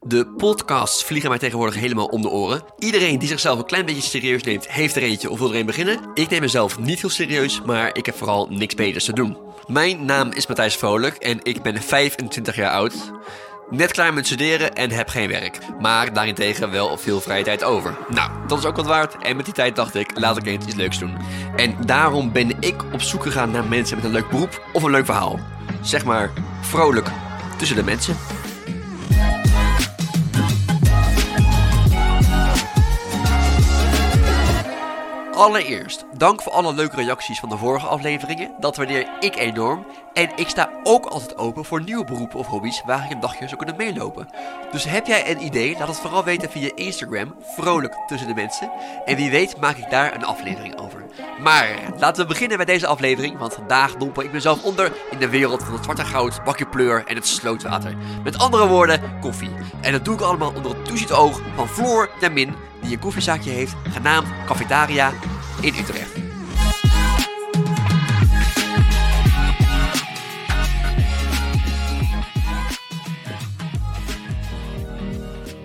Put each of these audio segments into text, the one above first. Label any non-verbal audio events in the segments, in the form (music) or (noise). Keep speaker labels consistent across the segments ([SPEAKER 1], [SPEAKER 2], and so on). [SPEAKER 1] De podcasts vliegen mij tegenwoordig helemaal om de oren. Iedereen die zichzelf een klein beetje serieus neemt, heeft er eentje of wil er een beginnen. Ik neem mezelf niet heel serieus, maar ik heb vooral niks beters te doen. Mijn naam is Matthijs Vrolijk en ik ben 25 jaar oud. Net klaar met studeren en heb geen werk. Maar daarentegen wel veel vrije tijd over. Nou, dat is ook wat waard. En met die tijd dacht ik, laat ik eens iets leuks doen. En daarom ben ik op zoek gegaan naar mensen met een leuk beroep of een leuk verhaal. Zeg maar, vrolijk tussen de mensen. Allereerst, dank voor alle leuke reacties van de vorige afleveringen. Dat waardeer ik enorm. En ik sta ook altijd open voor nieuwe beroepen of hobby's waar ik een dagje zou kunnen meelopen. Dus heb jij een idee? Laat het vooral weten via Instagram, vrolijk tussen de mensen. En wie weet maak ik daar een aflevering over. Maar laten we beginnen met deze aflevering, want vandaag dompel ik mezelf onder in de wereld van het zwarte goud, bakje pleur en het slootwater. Met andere woorden, koffie. En dat doe ik allemaal onder het toezicht oog van Floor naar Min, die een koffiezaakje heeft, genaamd Cafetaria in Utrecht.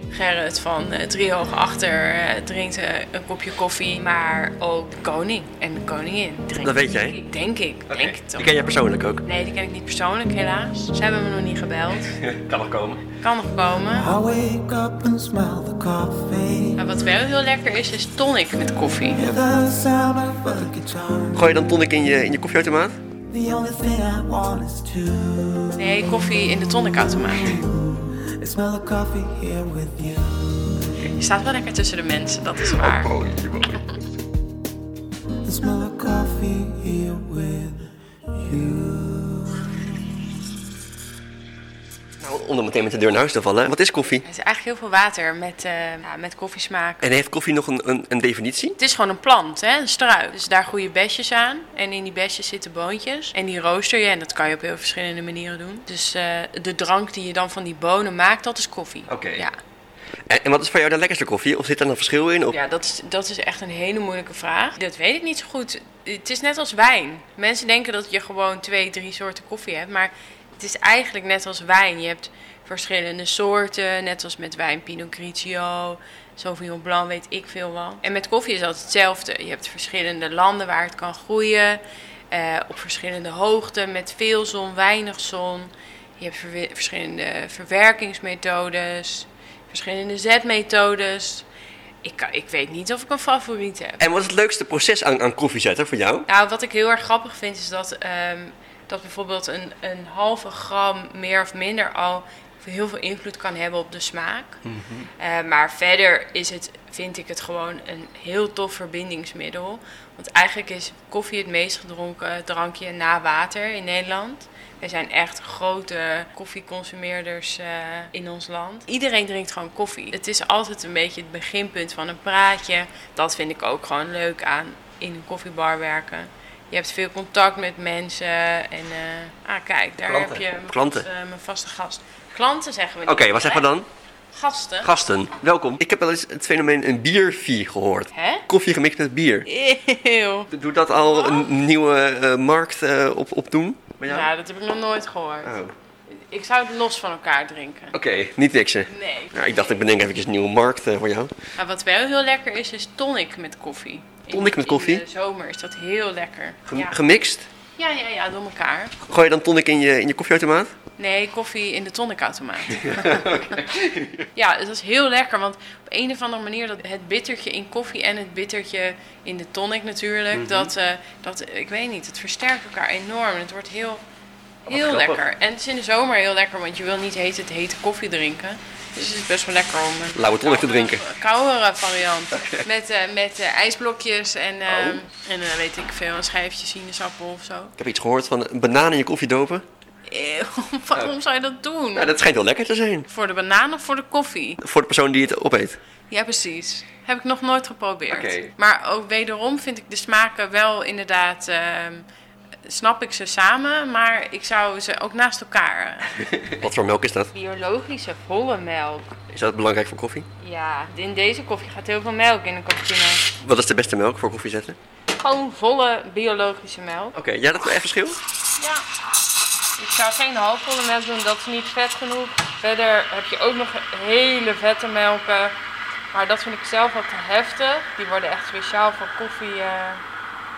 [SPEAKER 2] Gerrit van eh, Drie Hoog Achter eh, drinkt eh, een kopje koffie, maar ook de koning en de koningin drinken.
[SPEAKER 1] Dat weet jij?
[SPEAKER 2] koffie. Denk ik,
[SPEAKER 1] Oké.
[SPEAKER 2] denk ik toch.
[SPEAKER 1] Die ken jij persoonlijk ook.
[SPEAKER 2] Nee, die ken ik niet persoonlijk helaas. Ze hebben me nog niet gebeld.
[SPEAKER 1] (laughs) kan nog komen.
[SPEAKER 2] Kan nog komen.
[SPEAKER 3] I wake up and smell the coffee.
[SPEAKER 2] Maar wat wel heel lekker is, is tonic met koffie.
[SPEAKER 3] Hear the sound of a guitar.
[SPEAKER 1] Gooi je dan tonic in je, in je koffieautomaat?
[SPEAKER 3] The only thing I want is to
[SPEAKER 2] Nee, koffie in de
[SPEAKER 1] (laughs)
[SPEAKER 2] tonicautomaat.
[SPEAKER 3] smell the coffee here with you.
[SPEAKER 2] Je staat wel lekker tussen de mensen, dat is waar.
[SPEAKER 1] Oh,
[SPEAKER 3] The smell of coffee here with you.
[SPEAKER 1] Nou, om dan meteen met de deur naar huis te vallen. Wat is koffie?
[SPEAKER 2] Het is eigenlijk heel veel water met, eh ja, met koffiesmaak.
[SPEAKER 1] En heeft koffie nog een, een, een definitie?
[SPEAKER 2] Het is gewoon een plant, hè? een struik. Dus daar groeien besjes aan. En in die besjes zitten boontjes. En die rooster je. En dat kan je op heel verschillende manieren doen. Dus eh, de drank die je dan van die bonen maakt, dat is koffie.
[SPEAKER 1] Oké.
[SPEAKER 2] Ja,
[SPEAKER 1] En, en wat is voor jou de lekkerste koffie? Of zit daar een verschil in? Of...
[SPEAKER 2] ja dat, is, dat is echt een hele moeilijke vraag. Dat weet ik niet zo goed. Het is net als wijn. Mensen denken dat je gewoon twee, drie soorten koffie hebt. Maar het is eigenlijk net als wijn. Je hebt verschillende soorten. Net als met wijn Pinot Grigio, Sauvignon Blanc, weet ik veel wat. En met koffie is dat hetzelfde. Je hebt verschillende landen waar het kan groeien. eh, op verschillende hoogten, met veel zon, weinig zon. Je hebt verwe- verschillende verwerkingsmethodes, verschillende zetmethodes. Ik, kan- ik weet niet of ik een favoriet heb.
[SPEAKER 1] En wat is het leukste proces aan, aan koffie zetten voor jou?
[SPEAKER 2] Nou, wat ik heel erg grappig vind is dat, ehm, dat bijvoorbeeld een, een halve gram meer of minder al heel veel invloed kan hebben op de smaak. Eh, maar verder is het, vind ik het gewoon een heel tof verbindingsmiddel. Want eigenlijk is koffie het meest gedronken drankje na water in Nederland. Wij zijn echt grote koffieconsumeerders eh, in ons land. Iedereen drinkt gewoon koffie. Het is altijd een beetje het beginpunt van een praatje. Dat vind ik ook gewoon leuk aan in een koffiebar werken. Je hebt veel contact met mensen. En eh, ah, kijk, daar
[SPEAKER 1] Klanten.
[SPEAKER 2] heb je mijn
[SPEAKER 1] Klanten.
[SPEAKER 2] vaste- mijn vaste gast. Klanten zeggen we
[SPEAKER 1] Oké, wat zeggen we dan?
[SPEAKER 2] Gasten.
[SPEAKER 1] Gasten, welkom. Ik heb wel eens het fenomeen een biervie gehoord.
[SPEAKER 2] Hè?
[SPEAKER 1] Koffie gemixt met bier.
[SPEAKER 2] Eeuw.
[SPEAKER 1] Doe dat al een nieuwe eh, markt eh, op, opdoen? Bij jou?
[SPEAKER 2] Ja, Nou, dat heb ik nog nooit gehoord.
[SPEAKER 1] Oh. Oké,
[SPEAKER 2] Ik zou het los van elkaar drinken.
[SPEAKER 1] niet niksen.
[SPEAKER 2] Nee.
[SPEAKER 1] Nou, ik dacht, ik bedenk eventjes een nieuwe markt eh, voor jou.
[SPEAKER 2] Maar wat wel heel lekker is, is tonic met koffie. In-
[SPEAKER 1] Tonic met koffie?
[SPEAKER 2] In de zomer is dat heel lekker.
[SPEAKER 1] Gem-
[SPEAKER 2] ja.
[SPEAKER 1] Gemixt?
[SPEAKER 2] ja, ja, ja, door elkaar.
[SPEAKER 1] Gooi je dan tonic in je, in je koffieautomaat?
[SPEAKER 2] Nee, koffie in de
[SPEAKER 1] (laughs)
[SPEAKER 2] tonicautomaat. (laughs) ja, dat is heel lekker, want op een of andere manier dat het bittertje in koffie en het bittertje in de tonic natuurlijk,
[SPEAKER 1] Mhm.
[SPEAKER 2] dat, eh, dat, ik weet niet, het versterkt elkaar enorm. Het wordt heel, heel
[SPEAKER 1] Oh, grappig.
[SPEAKER 2] lekker. En het is in de zomer heel lekker, want je wil niet heet het hete koffie drinken. Dus het is best wel lekker om een
[SPEAKER 1] Lauwe tonic te
[SPEAKER 2] koudere-
[SPEAKER 1] drinken.
[SPEAKER 2] koudere variant.
[SPEAKER 1] (laughs)
[SPEAKER 2] Met, eh, met eh, ijsblokjes en,
[SPEAKER 1] Oh.
[SPEAKER 2] ehm, en eh, weet ik veel, een schijfje sinaasappel of zo.
[SPEAKER 1] Ik heb iets gehoord van een banaan in je koffie dopen.
[SPEAKER 2] Eeuw, (laughs) waarom zou je dat doen?
[SPEAKER 1] Nou, dat schijnt wel lekker te zijn.
[SPEAKER 2] Voor de banaan of voor de koffie?
[SPEAKER 1] Voor de persoon die het opeet.
[SPEAKER 2] Ja, precies. Heb ik nog nooit geprobeerd.
[SPEAKER 1] Oké.
[SPEAKER 2] Maar ook wederom vind ik de smaken wel inderdaad. ehm, snap ik ze samen, maar ik zou ze ook naast elkaar. eh,
[SPEAKER 1] Wat voor melk is dat?
[SPEAKER 2] Biologische volle melk.
[SPEAKER 1] Is dat belangrijk voor koffie?
[SPEAKER 2] Ja, in deze koffie gaat heel veel melk in een cappuccino.
[SPEAKER 1] Wat is de beste melk voor koffie zetten?
[SPEAKER 2] Gewoon volle biologische melk.
[SPEAKER 1] Oké, ja, dat is echt verschil.
[SPEAKER 2] Ja. Ik zou geen halfvolle melk doen, dat is niet vet genoeg. Verder heb je ook nog hele vette melken. Maar dat vind ik zelf wat te heftig. Die worden echt speciaal voor koffie eh,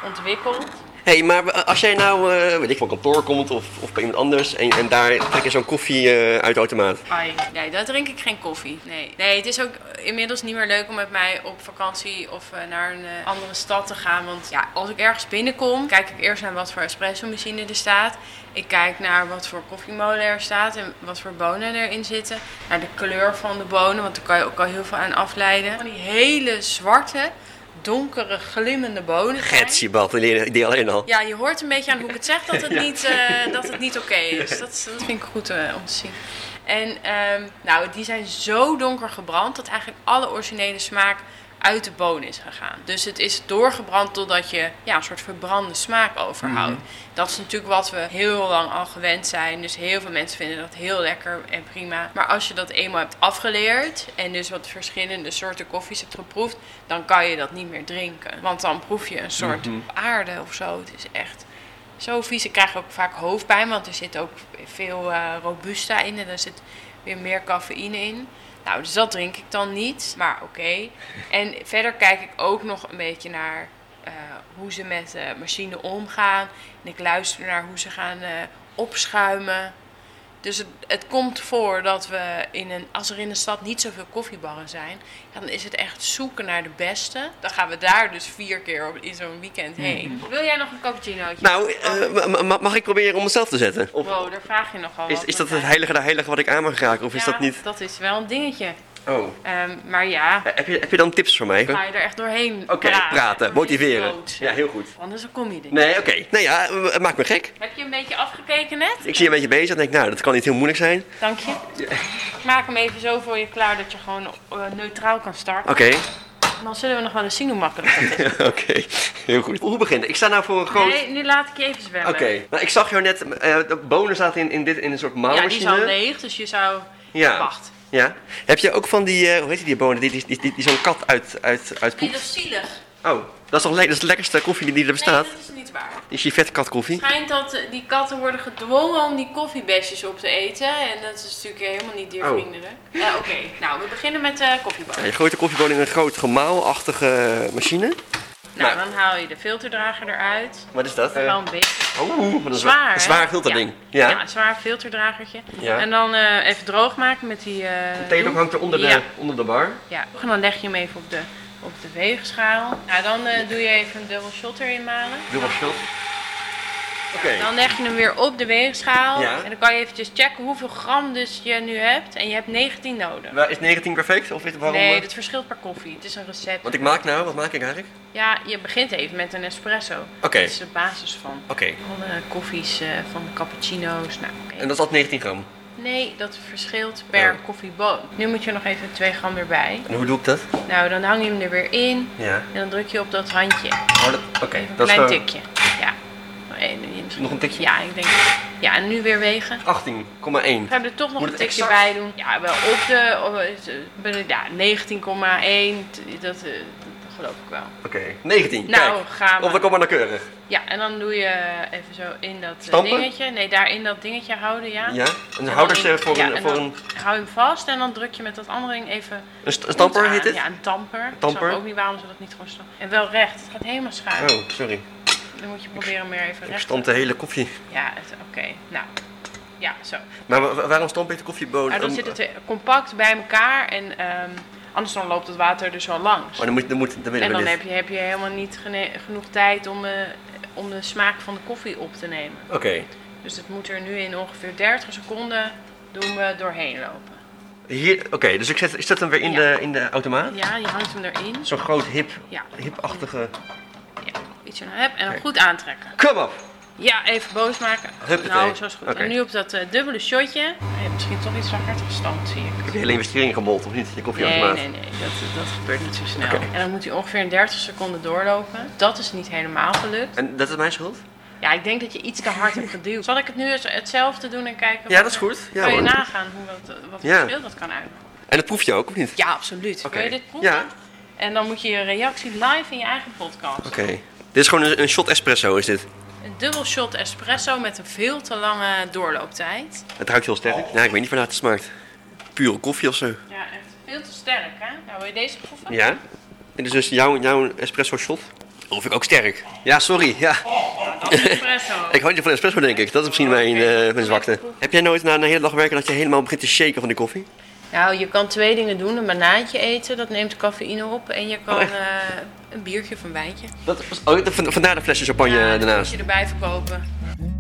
[SPEAKER 2] ontwikkeld.
[SPEAKER 4] Hé, hey, maar als jij nou, eh, weet ik van kantoor komt of, of bij iemand anders en, en daar trek je zo'n koffie eh, uit de automaat.
[SPEAKER 2] Ai, nee, daar drink ik geen koffie. Nee. nee, het is ook inmiddels niet meer leuk om met mij op vakantie of eh, naar een eh, andere stad te gaan. Want ja, als ik ergens binnenkom, kijk ik eerst naar wat voor espresso-machine er staat. Ik kijk naar wat voor koffiemolen er staat en wat voor bonen erin zitten. Naar de kleur van de bonen, want daar kan je ook al heel veel aan afleiden. Van die hele zwarte, donkere, glimmende bonen. zijn.
[SPEAKER 4] Getsjebad, die die alleen al.
[SPEAKER 2] Ja, je hoort een beetje aan hoe ik het zeg dat het niet, eh, dat het niet oké is. Dat, is- dat vind ik goed eh, om te zien. En ehm, nou, die zijn zo donker gebrand dat eigenlijk alle originele smaak uit de boon is gegaan. Dus het is doorgebrand totdat je ja, een soort verbrande smaak overhoudt. Dat is natuurlijk wat we heel lang al gewend zijn. Dus heel veel mensen vinden dat heel lekker en prima. Maar als je dat eenmaal hebt afgeleerd en dus wat verschillende soorten koffies hebt geproefd, dan kan je dat niet meer drinken. Want dan proef je een soort aarde of zo. Het is echt zo vies. Ik krijg ook vaak hoofdpijn, want er zit ook veel eh, robusta in en er zit weer meer cafeïne in. Nou, dus dat drink ik dan niet, maar oké. En verder kijk ik ook nog een beetje naar eh, hoe ze met de machine omgaan. En ik luister naar hoe ze gaan eh, opschuimen. Dus het, het komt voor dat we in een, als er in de stad niet zoveel koffiebarren zijn, dan is het echt zoeken naar de beste. Dan gaan we daar dus vier keer op, in zo'n weekend heen. Wil jij nog een cappuccinootje?
[SPEAKER 4] Hmm.
[SPEAKER 2] Oh,
[SPEAKER 4] Nou, eh, ma- ma- mag ik proberen om mezelf te zetten? Of
[SPEAKER 2] Wow, daar vraag je nogal
[SPEAKER 4] is,
[SPEAKER 2] wat,
[SPEAKER 4] is dat het
[SPEAKER 2] Martijn.
[SPEAKER 4] heilige de heilige wat ik aan mag raken? Of is
[SPEAKER 2] Ja,
[SPEAKER 4] dat niet...
[SPEAKER 2] dat is wel een dingetje.
[SPEAKER 4] Oh.
[SPEAKER 2] Ehm, maar ja,
[SPEAKER 4] Heb je, heb je dan tips voor mij? Oké,
[SPEAKER 2] ga je er echt doorheen
[SPEAKER 4] Eh, praten,
[SPEAKER 2] Dan word je
[SPEAKER 4] motiveren.
[SPEAKER 2] dood.
[SPEAKER 4] Ja, heel goed.
[SPEAKER 2] Anders dan kom je er niet.
[SPEAKER 4] Nee, oké. Nou ja, eh, het maakt me gek.
[SPEAKER 2] Heb je een beetje afgekeken net?
[SPEAKER 4] Ik zie je een beetje bezig en denk, nou, dat kan niet heel moeilijk zijn. Oké.
[SPEAKER 2] Dank je. Ik maak hem even zo voor je klaar dat je gewoon eh, neutraal kan starten. En Dan zullen we nog wel eens zien hoe makkelijk dat is.
[SPEAKER 4] (laughs) Oké, heel goed. Hoe begint? Ik sta nou voor een groot...
[SPEAKER 2] Nee, nu laat ik je even zwemmen.
[SPEAKER 4] Oké, nou, ik zag jou net, eh, de bonen zaten in, in, dit, in een soort
[SPEAKER 2] Ja, die
[SPEAKER 4] maalmachine.
[SPEAKER 2] is al leeg, dus je zou...
[SPEAKER 4] Ja.
[SPEAKER 2] Wacht.
[SPEAKER 4] Ja. Heb je ook van die, eh, hoe heet die bonen, die, die, die, die, die zo'n kat uit, uit,
[SPEAKER 2] Nee,
[SPEAKER 4] uitpoept?
[SPEAKER 2] dat is zielig.
[SPEAKER 4] Oh, dat is toch le- dat is de lekkerste koffie die er
[SPEAKER 2] Nee,
[SPEAKER 4] bestaat?
[SPEAKER 2] dat is niet waar.
[SPEAKER 4] Die civetkatkoffie. koffie.
[SPEAKER 2] Het schijnt dat eh, die katten worden gedwongen om die koffiebesjes op te eten. En dat is natuurlijk helemaal
[SPEAKER 4] Oh.
[SPEAKER 2] niet diervriendelijk. Eh, Oké, nou, we beginnen met de
[SPEAKER 4] Ja,
[SPEAKER 2] koffiebak.
[SPEAKER 4] je gooit de koffieboon in een groot gemaalachtige machine.
[SPEAKER 2] Nou,
[SPEAKER 4] maar- Eh.
[SPEAKER 2] dan haal je de filterdrager eruit.
[SPEAKER 4] Wat is dat?
[SPEAKER 2] Wel een beetje
[SPEAKER 4] Oeh, wat een
[SPEAKER 2] zwaar.
[SPEAKER 4] zwaar,
[SPEAKER 2] hè?
[SPEAKER 4] zwaar filterding.
[SPEAKER 2] Ja,
[SPEAKER 4] Ja.
[SPEAKER 2] ja een zwaar filterdragertje.
[SPEAKER 4] Ja.
[SPEAKER 2] En dan eh, even droog maken met die... eh,
[SPEAKER 4] De theedoek
[SPEAKER 2] doek.
[SPEAKER 4] hangt er onder de,
[SPEAKER 2] Ja.
[SPEAKER 4] onder de bar.
[SPEAKER 2] Ja, en dan leg je hem even op de, op de weegschaal. Nou, dan eh, doe je even een dubbel shot erin malen.
[SPEAKER 4] Dubbel schuld. Oké.
[SPEAKER 2] Dan leg je hem weer op de weegschaal.
[SPEAKER 4] Ja.
[SPEAKER 2] En dan kan je eventjes checken hoeveel gram dus je nu hebt. En je hebt 19 nodig.
[SPEAKER 4] Maar Is 19 perfect? Of is het waarom?
[SPEAKER 2] Nee,
[SPEAKER 4] eh,
[SPEAKER 2] dat verschilt per koffie. Het is een recept.
[SPEAKER 4] Wat ik maak nou, wat maak ik eigenlijk?
[SPEAKER 2] Ja, je begint even met een espresso.
[SPEAKER 4] Oké.
[SPEAKER 2] Dat is de basis van
[SPEAKER 4] Oké.
[SPEAKER 2] alle koffies, eh, van de cappuccino's. Nou, oké.
[SPEAKER 4] En dat is al 19 gram.
[SPEAKER 2] Nee, dat verschilt per
[SPEAKER 4] Ja.
[SPEAKER 2] koffieboon. Nu moet je nog even 2 gram erbij.
[SPEAKER 4] En hoe doe ik dat?
[SPEAKER 2] Nou, dan hang je hem er weer in.
[SPEAKER 4] Ja.
[SPEAKER 2] En dan druk je op dat handje.
[SPEAKER 4] Oh, dat- Oké.
[SPEAKER 2] Een
[SPEAKER 4] Dat is
[SPEAKER 2] klein
[SPEAKER 4] gewoon
[SPEAKER 2] tikje. Ja. Oh, eh, nee, misschien-
[SPEAKER 4] Nog een tikje?
[SPEAKER 2] Ja, ik denk. Ja, en nu weer wegen.
[SPEAKER 4] 18,1.
[SPEAKER 2] Ik ga er toch nog
[SPEAKER 4] Moet
[SPEAKER 2] een
[SPEAKER 4] het
[SPEAKER 2] tikje
[SPEAKER 4] exact?
[SPEAKER 2] bij doen. Ja, wel op de. op- eh, eh, Ja, 19,1. t- Dat, eh, dat geloof ik wel.
[SPEAKER 4] Oké. 19.
[SPEAKER 2] Nou,
[SPEAKER 4] Kijk.
[SPEAKER 2] gaan we.
[SPEAKER 4] Of dan kom maar naar keurig.
[SPEAKER 2] Ja, en dan doe je even zo in dat eh,
[SPEAKER 4] Stampen?
[SPEAKER 2] dingetje. Nee, daar in dat dingetje houden, ja.
[SPEAKER 4] Ja. Een
[SPEAKER 2] En dan
[SPEAKER 4] houdertje
[SPEAKER 2] in-
[SPEAKER 4] voor,
[SPEAKER 2] ja,
[SPEAKER 4] een,
[SPEAKER 2] en
[SPEAKER 4] voor
[SPEAKER 2] dan
[SPEAKER 4] een,
[SPEAKER 2] Hou je hem vast en dan druk je met dat andere ding even.
[SPEAKER 4] een st- een stamper
[SPEAKER 2] goed aan.
[SPEAKER 4] heet het?
[SPEAKER 2] Ja, een tamper. Ik
[SPEAKER 4] Tamper.
[SPEAKER 2] snap ook niet waarom ze dat niet gewoon stampen. En wel recht. Het gaat helemaal schuin.
[SPEAKER 4] Oh, sorry.
[SPEAKER 2] Dan moet je proberen meer even
[SPEAKER 4] Ik
[SPEAKER 2] recht.
[SPEAKER 4] stamp de hele koffie.
[SPEAKER 2] Ja, het- oké. Nou. Ja, zo.
[SPEAKER 4] Maar wa- wa- waarom stamp je de koffieboon?
[SPEAKER 2] Maar dan
[SPEAKER 4] Om-
[SPEAKER 2] zit het eh, compact bij elkaar en ehm, anders dan loopt het water er zo langs.
[SPEAKER 4] Oh, dan moet, dan moet, dan willen
[SPEAKER 2] En
[SPEAKER 4] we
[SPEAKER 2] dan
[SPEAKER 4] dit.
[SPEAKER 2] heb je, heb je helemaal niet gene- genoeg tijd om, eh, om de smaak van de koffie op te nemen.
[SPEAKER 4] Oké.
[SPEAKER 2] Dus het moet er nu in ongeveer 30 seconden doen we doorheen lopen.
[SPEAKER 4] Hier, oké, dus ik zet, ik zet hem weer in,
[SPEAKER 2] Ja.
[SPEAKER 4] de, in de automaat.
[SPEAKER 2] Ja, je hangt hem erin.
[SPEAKER 4] Zo'n groot hip,
[SPEAKER 2] Ja.
[SPEAKER 4] hipachtige.
[SPEAKER 2] Ja, iets in heb en dan
[SPEAKER 4] Oké.
[SPEAKER 2] goed aantrekken.
[SPEAKER 4] Kom op!
[SPEAKER 2] Ja, even boos maken.
[SPEAKER 4] Huppatee.
[SPEAKER 2] Nou, zo is goed.
[SPEAKER 4] Oké.
[SPEAKER 2] En nu op dat eh, dubbele shotje. Je hebt misschien toch iets van hard gestampt, zie ik.
[SPEAKER 4] Heb je hele investering gemold of niet? Je
[SPEAKER 2] Nee,
[SPEAKER 4] koffieautomaat.
[SPEAKER 2] nee, nee, dat, dat gebeurt niet zo snel.
[SPEAKER 4] Oké.
[SPEAKER 2] En dan moet hij ongeveer in 30 seconden doorlopen. Dat is niet helemaal gelukt.
[SPEAKER 4] En dat is mijn schuld?
[SPEAKER 2] Ja, ik denk dat je iets te hard hebt geduwd. Zal ik het nu eens hetzelfde doen en kijken?
[SPEAKER 4] Ja,
[SPEAKER 2] wat-
[SPEAKER 4] dat is goed. Ja,
[SPEAKER 2] Kan je
[SPEAKER 4] hoor.
[SPEAKER 2] nagaan hoe dat, eh, wat voor
[SPEAKER 4] Ja.
[SPEAKER 2] verschil dat kan uitmaken?
[SPEAKER 4] En dat proef je ook, of niet?
[SPEAKER 2] Ja, absoluut.
[SPEAKER 4] Oké.
[SPEAKER 2] Wil je dit proeven?
[SPEAKER 4] Ja.
[SPEAKER 2] En dan moet je je reactie live in je eigen podcast.
[SPEAKER 4] Oké. Dit is gewoon een, een shot espresso, is dit?
[SPEAKER 2] Een dubbel shot espresso met een veel te lange doorlooptijd. Oh.
[SPEAKER 4] Het ruikt heel sterk. Ja, ik weet niet waarnaar het smaakt. pure koffie of zo.
[SPEAKER 2] Ja, echt veel te sterk, hè? Nou, wil je deze proeven?
[SPEAKER 4] Ja? Dit is dus jouw, jouw espresso shot. Of ik ook sterk. Ja, sorry. Ja.
[SPEAKER 2] Dat is espresso.
[SPEAKER 4] Ik hou niet van espresso, denk ik. Dat is misschien mijn, eh, mijn zwakte. Heb jij nooit na een hele dag werken dat je helemaal begint te shaken van die koffie?
[SPEAKER 2] Nou, je kan twee dingen doen. Een banaantje eten, dat neemt cafeïne op. En je kan
[SPEAKER 4] Oh, echt?
[SPEAKER 2] eh, een biertje of een wijntje.
[SPEAKER 4] Dat was, oh, van- vandaar de flesje champagne eh,
[SPEAKER 2] Ja, dat moet
[SPEAKER 4] daarnaast.
[SPEAKER 2] je erbij verkopen.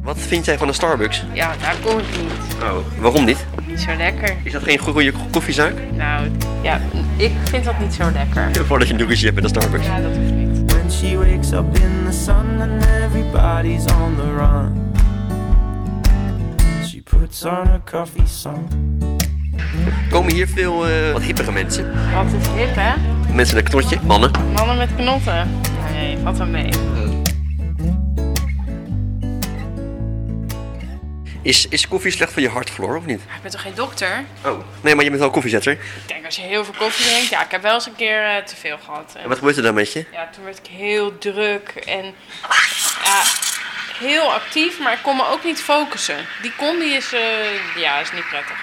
[SPEAKER 4] Wat vind jij van de Starbucks?
[SPEAKER 2] Ja, daar kom ik niet.
[SPEAKER 4] Oh, waarom niet?
[SPEAKER 2] Niet zo lekker.
[SPEAKER 4] Is dat geen goede koffiezaak?
[SPEAKER 2] Nou, ja, ik vind dat niet zo lekker.
[SPEAKER 4] Voordat je een doekje hebt bij de Starbucks.
[SPEAKER 2] Ja, dat hoeft niet.
[SPEAKER 3] When she wakes up in the sun and everybody's on the run. She puts on her coffee song.
[SPEAKER 4] Komen hier veel eh, wat hippere mensen?
[SPEAKER 2] Wat is hip, hè?
[SPEAKER 4] Mensen met een knotje, mannen.
[SPEAKER 2] Mannen met knotten. Nee, wat dan mee.
[SPEAKER 4] Is, is koffie slecht voor je hart, Floor, of niet?
[SPEAKER 2] Ik ben toch geen dokter?
[SPEAKER 4] Oh. Nee, maar je bent wel koffiezetter.
[SPEAKER 2] Ik denk als je heel veel koffie drinkt. Ja, ik heb wel eens een keer eh, te veel gehad. En
[SPEAKER 4] En wat gebeurt er dan met je?
[SPEAKER 2] Ja, toen werd ik heel druk en ja, heel actief, maar ik kon me ook niet focussen. Die combi is, eh, ja, is niet prettig.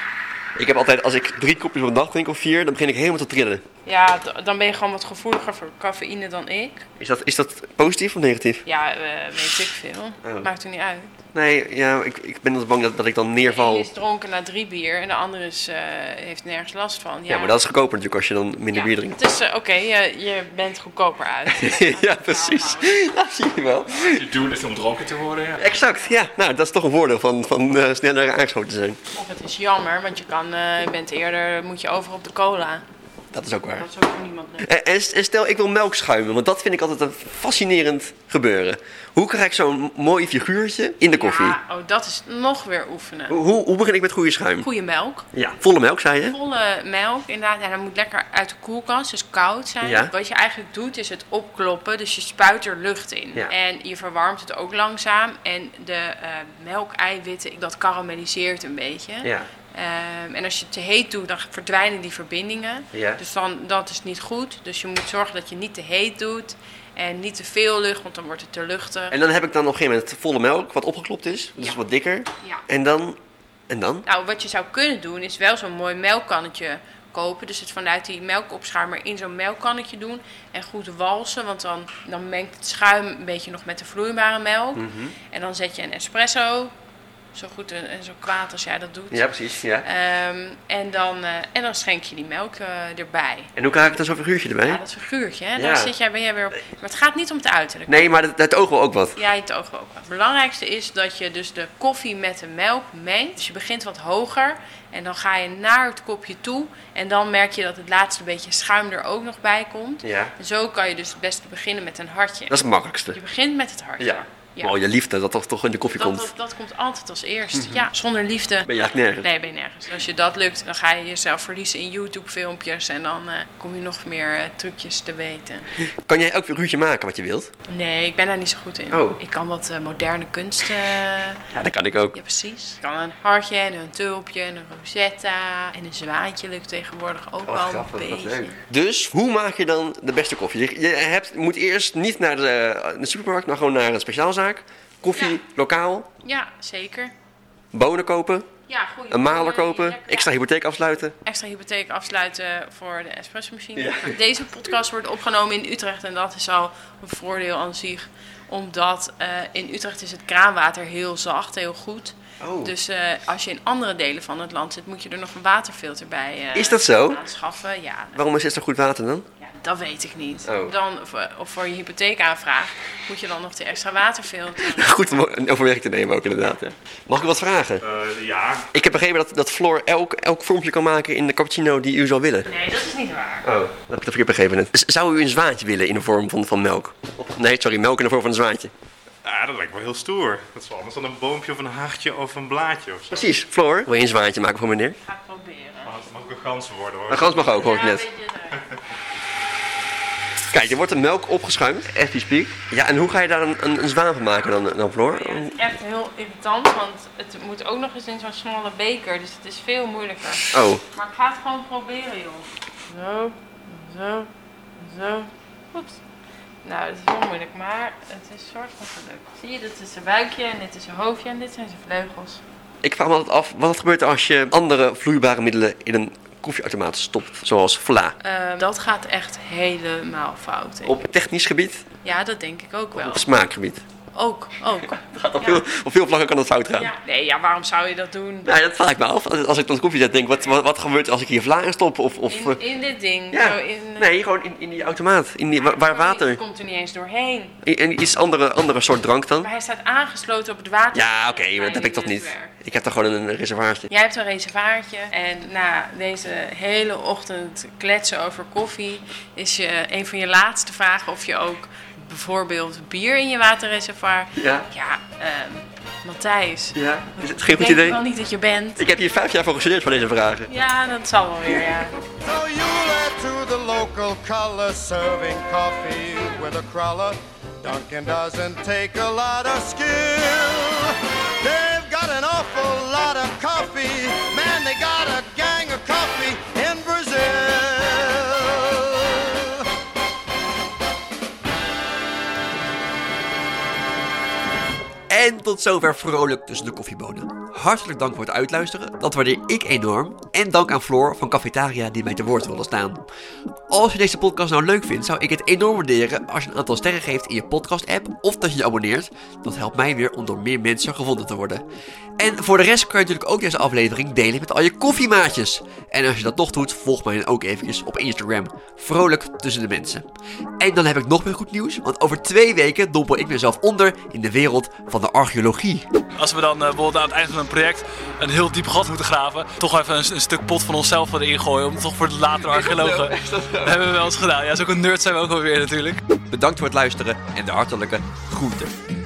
[SPEAKER 4] Ik heb altijd, als ik drie kopjes op een dag drink of vier, dan begin ik helemaal te trillen.
[SPEAKER 2] Ja, d- dan ben je gewoon wat gevoeliger voor cafeïne dan ik.
[SPEAKER 4] Is dat, is dat positief of negatief?
[SPEAKER 2] Ja, eh, weet ik veel.
[SPEAKER 4] Oh.
[SPEAKER 2] Maakt er niet uit.
[SPEAKER 4] Nee, ja, ik, ik ben altijd bang dat, dat ik dan
[SPEAKER 2] De ene
[SPEAKER 4] neerval.
[SPEAKER 2] is dronken na drie bier en de andere is, eh, heeft nergens last van. Ja,
[SPEAKER 4] Ja, maar dat is goedkoper natuurlijk als je dan
[SPEAKER 2] Ja,
[SPEAKER 4] minder bier drinkt. (laughs)
[SPEAKER 2] Het is, eh, oké, je, je bent goedkoper uit.
[SPEAKER 4] ja, precies. Dat zie je wel.
[SPEAKER 5] Je doel is om dronken te worden, ja.
[SPEAKER 4] Exact, ja. Nou, dat is toch een voordeel van, van eh, sneller aangeschoten zijn.
[SPEAKER 2] Of het is jammer, want je, kan, eh, je bent eerder, moet je over op de cola.
[SPEAKER 4] Dat is ook waar. Eh,
[SPEAKER 2] Dat is ook voor niemand leuk.
[SPEAKER 4] En, en- en stel, ik wil melk schuimen, want dat vind ik altijd een fascinerend gebeuren. Hoe krijg ik zo'n mooi figuurtje in de koffie?
[SPEAKER 2] Ja, oh, dat is nog weer oefenen.
[SPEAKER 4] Hoe, hoe begin ik met goede schuim?
[SPEAKER 2] Goede melk.
[SPEAKER 4] Ja. Volle melk, zei je?
[SPEAKER 2] Volle melk, inderdaad. En dat moet lekker uit de koelkast, dus koud zijn.
[SPEAKER 4] Ja.
[SPEAKER 2] Wat je eigenlijk doet, is het opkloppen. Dus je spuit er lucht in.
[SPEAKER 4] Ja.
[SPEAKER 2] En je verwarmt het ook langzaam. En de eh, melkeiwitten, dat karamelliseert een beetje.
[SPEAKER 4] Ja.
[SPEAKER 2] Ehm, en als je het te heet doet, dan verdwijnen die verbindingen.
[SPEAKER 4] Ja.
[SPEAKER 2] Dus dan, dat is niet goed. Dus je moet zorgen dat je niet te heet doet. En niet te veel lucht, want dan wordt het te luchtig.
[SPEAKER 4] En dan heb ik dan op een gegeven moment volle melk, wat opgeklopt is, dus
[SPEAKER 2] Ja.
[SPEAKER 4] wat dikker.
[SPEAKER 2] Ja.
[SPEAKER 4] En dan? En dan?
[SPEAKER 2] Nou, wat je zou kunnen doen is wel zo'n mooi melkkannetje kopen. Dus het vanuit die melkopschuimer in zo'n melkkannetje doen. En goed walsen, want dan, dan mengt het schuim een beetje nog met de vloeibare melk. En dan zet je een espresso. Zo goed en, en zo kwaad als jij dat doet.
[SPEAKER 4] precies. Ja.
[SPEAKER 2] Ehm, en, dan, eh, en dan schenk je die melk eh, erbij.
[SPEAKER 4] En hoe krijg ik dan zo'n figuurtje erbij?
[SPEAKER 2] Ja, dat figuurtje, hè?
[SPEAKER 4] Ja.
[SPEAKER 2] daar zit jij, ben jij weer op. Maar het gaat niet om het uiterlijk.
[SPEAKER 4] Nee, maar het, het oog wil ook wat.
[SPEAKER 2] Ja, in het oog ook. Het belangrijkste is dat je dus de koffie met de melk mengt. Dus je begint wat hoger en dan ga je naar het kopje toe. En dan merk je dat het laatste beetje schuim er ook nog bij komt.
[SPEAKER 4] Ja.
[SPEAKER 2] En zo kan je dus het beste beginnen met een hartje.
[SPEAKER 4] Dat is het makkelijkste.
[SPEAKER 2] Je begint met het hartje.
[SPEAKER 4] Ja. Oh, je liefde, dat toch, toch in de koffie
[SPEAKER 2] dat,
[SPEAKER 4] komt. Mhm.
[SPEAKER 2] dat, dat komt altijd als eerst. Ja, zonder liefde
[SPEAKER 4] Ben je eigenlijk nergens.
[SPEAKER 2] Nee, ben je nergens. Als je dat lukt, dan ga je jezelf verliezen in YouTube-filmpjes. En dan eh, kom je nog meer eh, trucjes te weten.
[SPEAKER 4] Kan jij elk figuurtje maken wat je wilt?
[SPEAKER 2] Nee, ik ben daar niet zo goed in.
[SPEAKER 4] Oh.
[SPEAKER 2] Ik kan wat eh, moderne kunst eh,
[SPEAKER 4] Ja, dat kan ik ook.
[SPEAKER 2] Ja, precies. Ik kan een hartje en een tulpje en een rosetta. En een zwaantje lukt tegenwoordig
[SPEAKER 4] Oh,
[SPEAKER 2] ook al een beetje.
[SPEAKER 4] Dus hoe maak je dan de beste koffie? Je- Je hebt, moet eerst niet naar de, de supermarkt, maar gewoon naar een speciaalzaak. Koffie,
[SPEAKER 2] Ja.
[SPEAKER 4] lokaal,
[SPEAKER 2] Ja, zeker.
[SPEAKER 4] bonen kopen,
[SPEAKER 2] Ja, goed.
[SPEAKER 4] een maler kopen,
[SPEAKER 2] Lekker.
[SPEAKER 4] extra hypotheek afsluiten.
[SPEAKER 2] Extra hypotheek afsluiten voor de espressomachine.
[SPEAKER 4] Ja.
[SPEAKER 2] Maar Deze podcast wordt opgenomen in Utrecht en dat is al een voordeel aan zich. Omdat eh, in Utrecht is het kraanwater heel zacht, heel goed.
[SPEAKER 4] Oh.
[SPEAKER 2] Dus eh, als je in andere delen van het land zit, moet je er nog een waterfilter bij eh,
[SPEAKER 4] Is dat zo?
[SPEAKER 2] aanschaffen. Ja,
[SPEAKER 4] Waarom is het zo goed water dan? (laughs)
[SPEAKER 2] Ja, dat weet ik niet.
[SPEAKER 4] Oh.
[SPEAKER 2] Dan, of, eh, of voor je hypotheekaanvraag moet je dan nog de extra waterfilter.
[SPEAKER 4] Goed om in overweging te nemen ook inderdaad. ja. Mag ik wat vragen?
[SPEAKER 5] Eh, ja,
[SPEAKER 4] Ik heb begrepen dat, dat Floor elk, elk vormpje kan maken in de cappuccino die u zou willen.
[SPEAKER 2] Nee, dat is niet waar.
[SPEAKER 4] Oh, dat heb ik verkeerd begrepen net. Z- Zou u een zwaantje willen in de vorm van, van melk? Nee, sorry, melk in de vorm van een zwaantje.
[SPEAKER 5] ah, dat lijkt me heel stoer. Dat is wel anders dan een boompje of een hartje of een blaadje of zo.
[SPEAKER 4] Precies, Floor. Wil je een zwaantje maken voor meneer?
[SPEAKER 2] Ga ik proberen.
[SPEAKER 5] Maar het mag ook een gans worden hoor.
[SPEAKER 4] Een gans mag ook, hoor ik
[SPEAKER 2] Ja,
[SPEAKER 4] net.
[SPEAKER 2] weet je, eh,
[SPEAKER 4] Kijk, er wordt de melk opgeschuimd, as we speak. Ja, en hoe ga je daar een, een, een zwaan van maken dan, dan Floor?
[SPEAKER 2] het is echt heel irritant, want het moet ook nog eens in zo'n smalle beker. Dus het is veel moeilijker.
[SPEAKER 4] Oh,
[SPEAKER 2] Maar ik ga het gewoon proberen, joh. Zo, zo, zo. Goed. Nou, dat is wel moeilijk, maar het is soort van gelukt. Zie je, dit is zijn buikje en dit is zijn hoofdje en dit zijn zijn vleugels.
[SPEAKER 4] Ik vraag me altijd af, wat gebeurt er als je andere vloeibare middelen in een koffieautomaat stopt? Zoals vla.
[SPEAKER 2] Ehm, dat gaat echt helemaal fout. denk ik.
[SPEAKER 4] Op technisch gebied,
[SPEAKER 2] Ja, dat denk ik ook wel.
[SPEAKER 4] op smaakgebied.
[SPEAKER 2] Ook,
[SPEAKER 4] (laughs)
[SPEAKER 2] ook.
[SPEAKER 4] Het gaat op,
[SPEAKER 2] Ja.
[SPEAKER 4] veel, op veel vlakken kan dat fout gaan.
[SPEAKER 2] Ja. Nee, ja, waarom zou je dat doen?
[SPEAKER 4] Nou, dat vraag ik me af. Als als ik dan koffie zet, denk ik, wat, wat, wat gebeurt er als ik hier vla in stop? Of, of,
[SPEAKER 2] In,
[SPEAKER 4] eh,
[SPEAKER 2] in dit ding.
[SPEAKER 4] ja,
[SPEAKER 2] Zo in, eh, Oh,
[SPEAKER 4] nee, gewoon in, in die automaat. In die, waar, waar water.
[SPEAKER 2] Het komt er niet eens doorheen.
[SPEAKER 4] In, in iets andere, andere soort drank dan.
[SPEAKER 2] Maar hij staat aangesloten op het water.
[SPEAKER 4] Ja, oké, maar dat heb ik toch niet.
[SPEAKER 2] netwerk.
[SPEAKER 4] Ik heb toch gewoon een reservaatje.
[SPEAKER 2] Jij hebt een reservaatje en na deze hele ochtend kletsen over koffie is je een van je laatste vragen of je ook bijvoorbeeld bier in je waterreservoir.
[SPEAKER 4] Ja.
[SPEAKER 2] Ja, ehm, Matthijs.
[SPEAKER 4] Ja, is het geen goed
[SPEAKER 2] Ik
[SPEAKER 4] idee?
[SPEAKER 2] denk wel niet dat je bent.
[SPEAKER 4] Ik heb hier vijf jaar voor gestudeerd voor deze vragen.
[SPEAKER 2] Ja, dat zal wel weer, ja.
[SPEAKER 6] So you led to the local color, serving coffee with a crawler. Dunkin' doesn't take a lot of skill. They've got an awful lot of coffee. Man, they got a gang of coffee in Brazil.
[SPEAKER 1] En tot zover vrolijk tussen de koffiebonen. Hartelijk dank voor het uitluisteren, dat waardeer ik enorm. En dank aan Floor van Cafetaria die mij te woord wilde staan. Als je deze podcast nou leuk vindt, zou ik het enorm waarderen als je een aantal sterren geeft in je podcast-app of dat je je abonneert. Dat helpt mij weer om door meer mensen gevonden te worden. En voor de rest kun je natuurlijk ook deze aflevering delen met al je koffiemaatjes. En als je dat nog doet, volg mij dan ook eventjes op Instagram. Vrolijk tussen de mensen. En dan heb ik nog meer goed nieuws, want over twee weken dompel ik mezelf onder in de wereld van de archeologie.
[SPEAKER 7] Als we dan eh, bijvoorbeeld aan het eind van een project een heel diep gat moeten graven, toch even een, een stuk pot van onszelf erin gooien om toch voor de latere archeologen. Dat hebben we wel eens gedaan. Ja, zo'n nerd zijn we ook alweer natuurlijk.
[SPEAKER 1] Bedankt voor het luisteren en de hartelijke groeten.